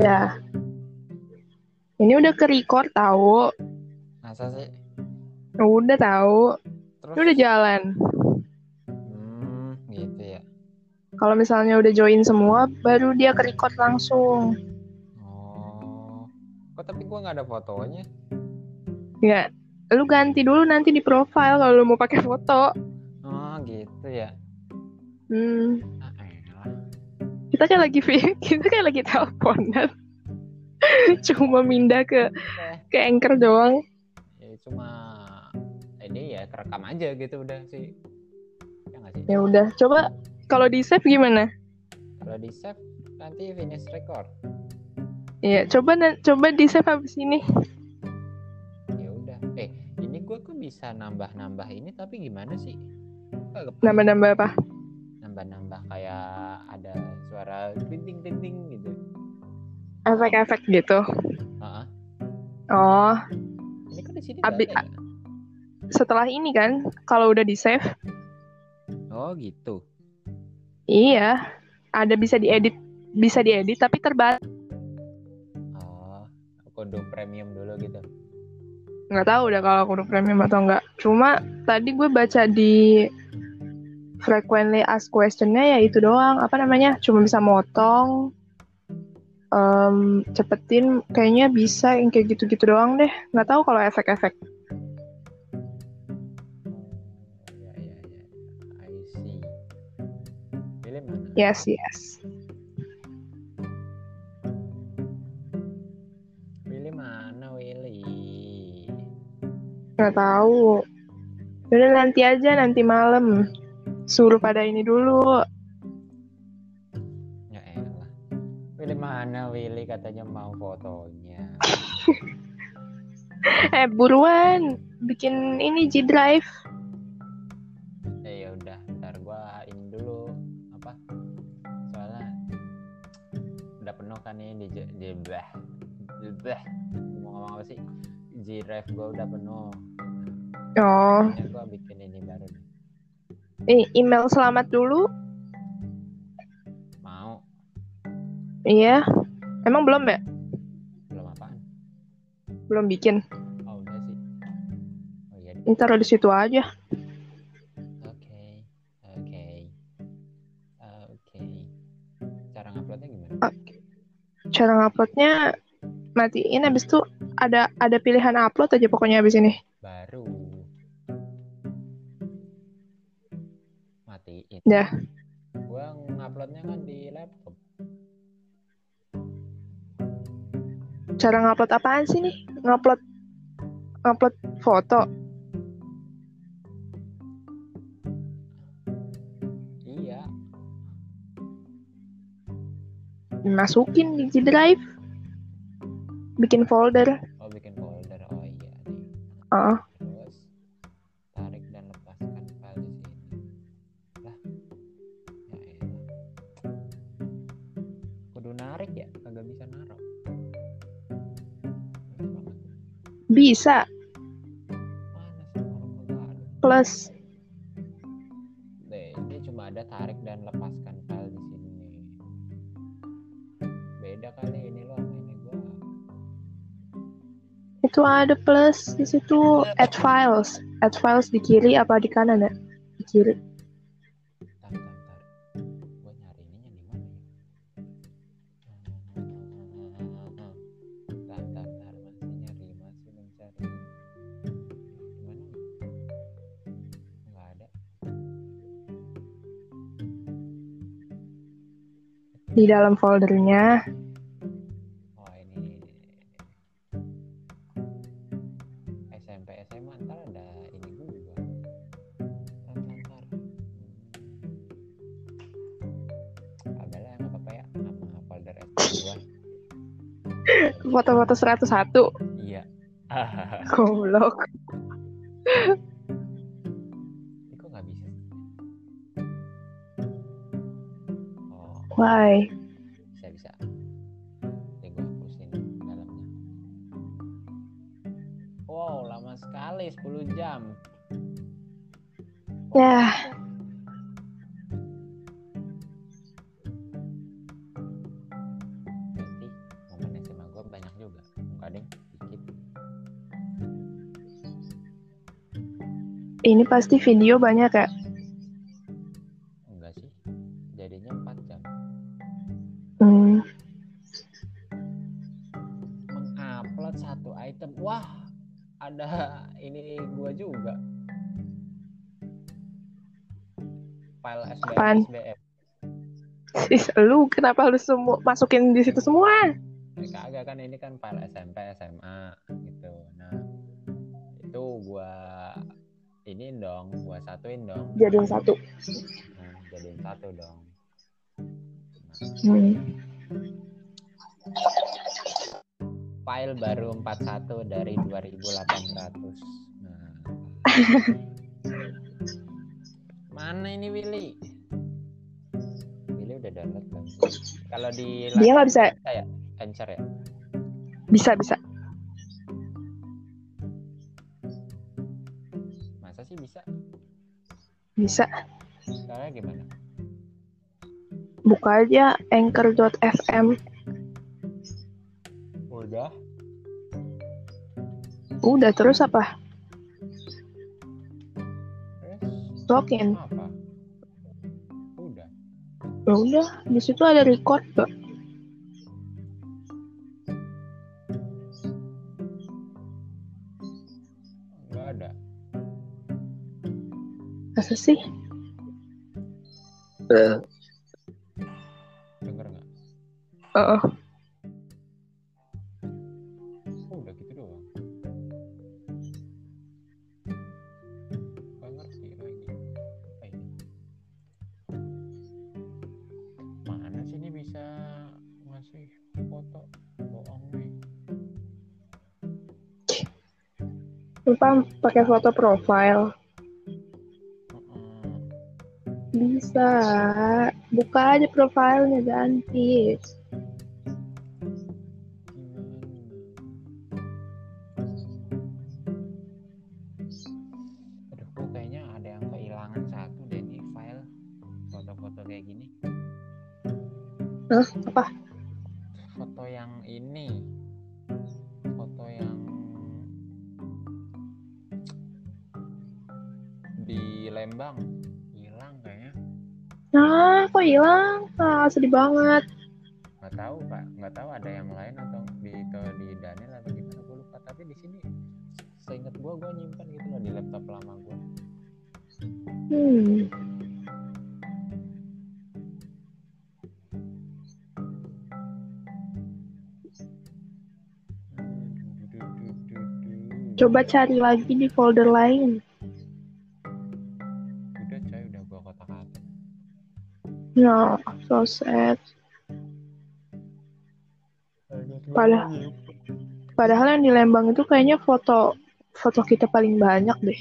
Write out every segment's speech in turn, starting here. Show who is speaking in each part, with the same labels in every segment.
Speaker 1: Ya. Ini udah ke record tahu.
Speaker 2: Masa sih?
Speaker 1: Udah tahu.
Speaker 2: Terus
Speaker 1: Ini udah jalan.
Speaker 2: hmm, gitu ya.
Speaker 1: Kalau misalnya udah join semua baru dia ke record langsung.
Speaker 2: Oh. Kok tapi gua nggak ada fotonya?
Speaker 1: Ya. Lu ganti dulu nanti di profile kalau lu mau pakai foto.
Speaker 2: Oh, gitu ya.
Speaker 1: Hmm.
Speaker 2: Ah, elah.
Speaker 1: Kita kayak lagi vi- kita kayak lagi teleponan. Cuma mindah ke
Speaker 2: Oke.
Speaker 1: ke anchor doang.
Speaker 2: Ya cuma ini ya kerekam aja gitu udah sih. Ya nggak sih?
Speaker 1: Ya udah, coba kalau di save gimana?
Speaker 2: Kalau di save nanti finish record.
Speaker 1: Iya, coba na- coba di save habis ini.
Speaker 2: Ya udah. Eh, ini gua kok bisa nambah-nambah ini tapi gimana sih? Kok
Speaker 1: Nambah-nambah apa?
Speaker 2: Nambah-nambah kayak ada suara dinding-dinding gitu.
Speaker 1: Efek-efek gitu.
Speaker 2: Heeh.
Speaker 1: Oh,
Speaker 2: Ini kan di sini
Speaker 1: Abi-
Speaker 2: nggak ada ya?
Speaker 1: setelah ini kan kalau udah di save
Speaker 2: Oh, gitu.
Speaker 1: iya ada bisa diedit bisa diedit tapi terbatas
Speaker 2: Oh, kondo premium dulu gitu.
Speaker 1: nggak tahu udah kalau kudu premium atau enggak cuma tadi gue baca di frequently asked questionnya ya itu doang apa namanya cuma bisa motong em, cepetin kayaknya bisa yang kayak gitu-gitu doang deh nggak tahu kalau efek-efek
Speaker 2: Ya, ya, ya. I see. Pilih mana?
Speaker 1: yes yes
Speaker 2: Pilih mana, Willy?
Speaker 1: nggak tahu udah nanti aja nanti malam suruh pada ini dulu
Speaker 2: Ya elah. Pilih mana, Willy? Katanya mau fotonya.
Speaker 1: Eh buruan bikin ini G Drive.
Speaker 2: Eh, ya udah, ntar gua ini dulu apa? Soalnya udah penuh kan ini di J- di bah. Di bah. Mau ngomong apa sih? G Drive gua udah penuh.
Speaker 1: Oh,
Speaker 2: Ya gua bikin ini baru. nih.
Speaker 1: eh, email selamat dulu.
Speaker 2: Mau
Speaker 1: Iya. Emang belum ya?
Speaker 2: belum apaan?
Speaker 1: Belum bikin.
Speaker 2: Oh udah sih. Oh iya. di-
Speaker 1: Ntar di situ aja.
Speaker 2: Oke. Oke. Eh, Oke. Cara nguploadnya gimana?
Speaker 1: Cara nguploadnya matiin habis itu ada ada pilihan upload aja pokoknya habis ini.
Speaker 2: Baru. Matiin.
Speaker 1: Dah.
Speaker 2: Gua nguploadnya kan di laptop.
Speaker 1: Cara ngupload apaan sih nih? Ngupload ngupload foto.
Speaker 2: Iya.
Speaker 1: Masukin di G Drive. Bikin folder.
Speaker 2: Oh bikin folder. Oh iya nih.
Speaker 1: Heeh.
Speaker 2: Terus tarik dan lepaskan file di sini. Lah. Ya elah. Kudu narik ya, kagak bisa naruh.
Speaker 1: Bisa
Speaker 2: Mana sih orang kagak ada?
Speaker 1: plus
Speaker 2: Deh, ini cuma ada tarik dan lepaskan file di sini nih. Beda kali ini lo sama ini gua.
Speaker 1: itu ada plus di situ add files add files di kiri apa di kanan ya di kiri
Speaker 2: Tar, tar, tar. Gua nyari ininya di mana ya? Tar, tar, tar. Masih nyari, masih mencari. Di mana nih? Nggak ada.
Speaker 1: di dalam foldernya
Speaker 2: Oh ini SMP SMA ntar ada ini juga. Ntar ntar ntar. Hmm. Ada lah nggak apa-apa ya sama folder SMP gua.
Speaker 1: foto-foto 101
Speaker 2: Iya.
Speaker 1: goblok
Speaker 2: Ini kok nggak bisa? Oh
Speaker 1: why
Speaker 2: bisa bisa. Ini gua hapusin dalamnya. Wow lama sekali 10 jam.
Speaker 1: ya
Speaker 2: Berarti ding dikit
Speaker 1: Ini pasti video banyak ya.
Speaker 2: enggak sih jadinya 4 jam
Speaker 1: Hmm.
Speaker 2: mengupload satu item wah ada ini gua juga file SBM
Speaker 1: Apaan?
Speaker 2: SBM
Speaker 1: Ih, lu kenapa lu semua masukin di situ semua?
Speaker 2: Eh, kagak kan ini kan
Speaker 1: Hmm.
Speaker 2: file SMP SMA gitu nah itu gua ini dong gua satuin dong
Speaker 1: Jadiin satu.
Speaker 2: nah, jadiin satu dong
Speaker 1: Hmm.
Speaker 2: file baru 41 dari 2800 nah. mana ini Willy Willy udah download belum kalau di
Speaker 1: Dia nggak bisa,
Speaker 2: Anchor ya
Speaker 1: bisa, bisa.
Speaker 2: masa sih bisa
Speaker 1: Bisa.
Speaker 2: caranya gimana
Speaker 1: Buka aja anchor.fm.
Speaker 2: udah
Speaker 1: Udah terus apa?
Speaker 2: terus
Speaker 1: Login.
Speaker 2: apa udah
Speaker 1: Ya udah, di situ ada record, Mbak.
Speaker 2: nggak ada
Speaker 1: Masa sih?
Speaker 2: denger nggak
Speaker 1: Heeh.
Speaker 2: udah gitu doang Gak ngerti lagi Eh. apa ini mana sih ini bisa ngasih foto bohong nih
Speaker 1: Lupa pakai foto profile.
Speaker 2: Heeh.
Speaker 1: Bisa. Buka aja profilnya ganti.
Speaker 2: gimana aduh gua kayaknya ada yang kehilangan satu deh nih file foto-foto kayak gini
Speaker 1: Hah? Apa?
Speaker 2: foto yang ini foto yang di Lembang hilang kayaknya
Speaker 1: Nah, kok hilang? Ah, sedih banget.
Speaker 2: nggak tahu pak nggak tahu ada yang lain atau di atau di Daniel atau gimana gue lupa tapi di sini seingat gue gue nyimpan gitu loh di laptop lama gue
Speaker 1: Hmm. Coba cari lagi di folder lain.
Speaker 2: udah coy udah gue kotak atik
Speaker 1: Ya, so sad. Padahal- Padahal yang di Lembang itu kayaknya foto foto kita paling banyak deh.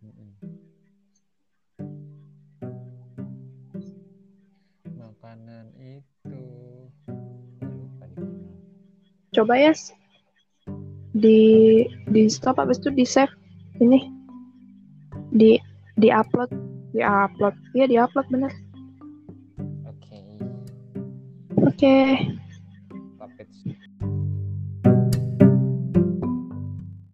Speaker 2: Mm-mm. makanan itu lupa di mana.
Speaker 1: Coba ya s- di di stop habis itu di save ini di di upload di upload ya di upload bener
Speaker 2: oke
Speaker 1: oke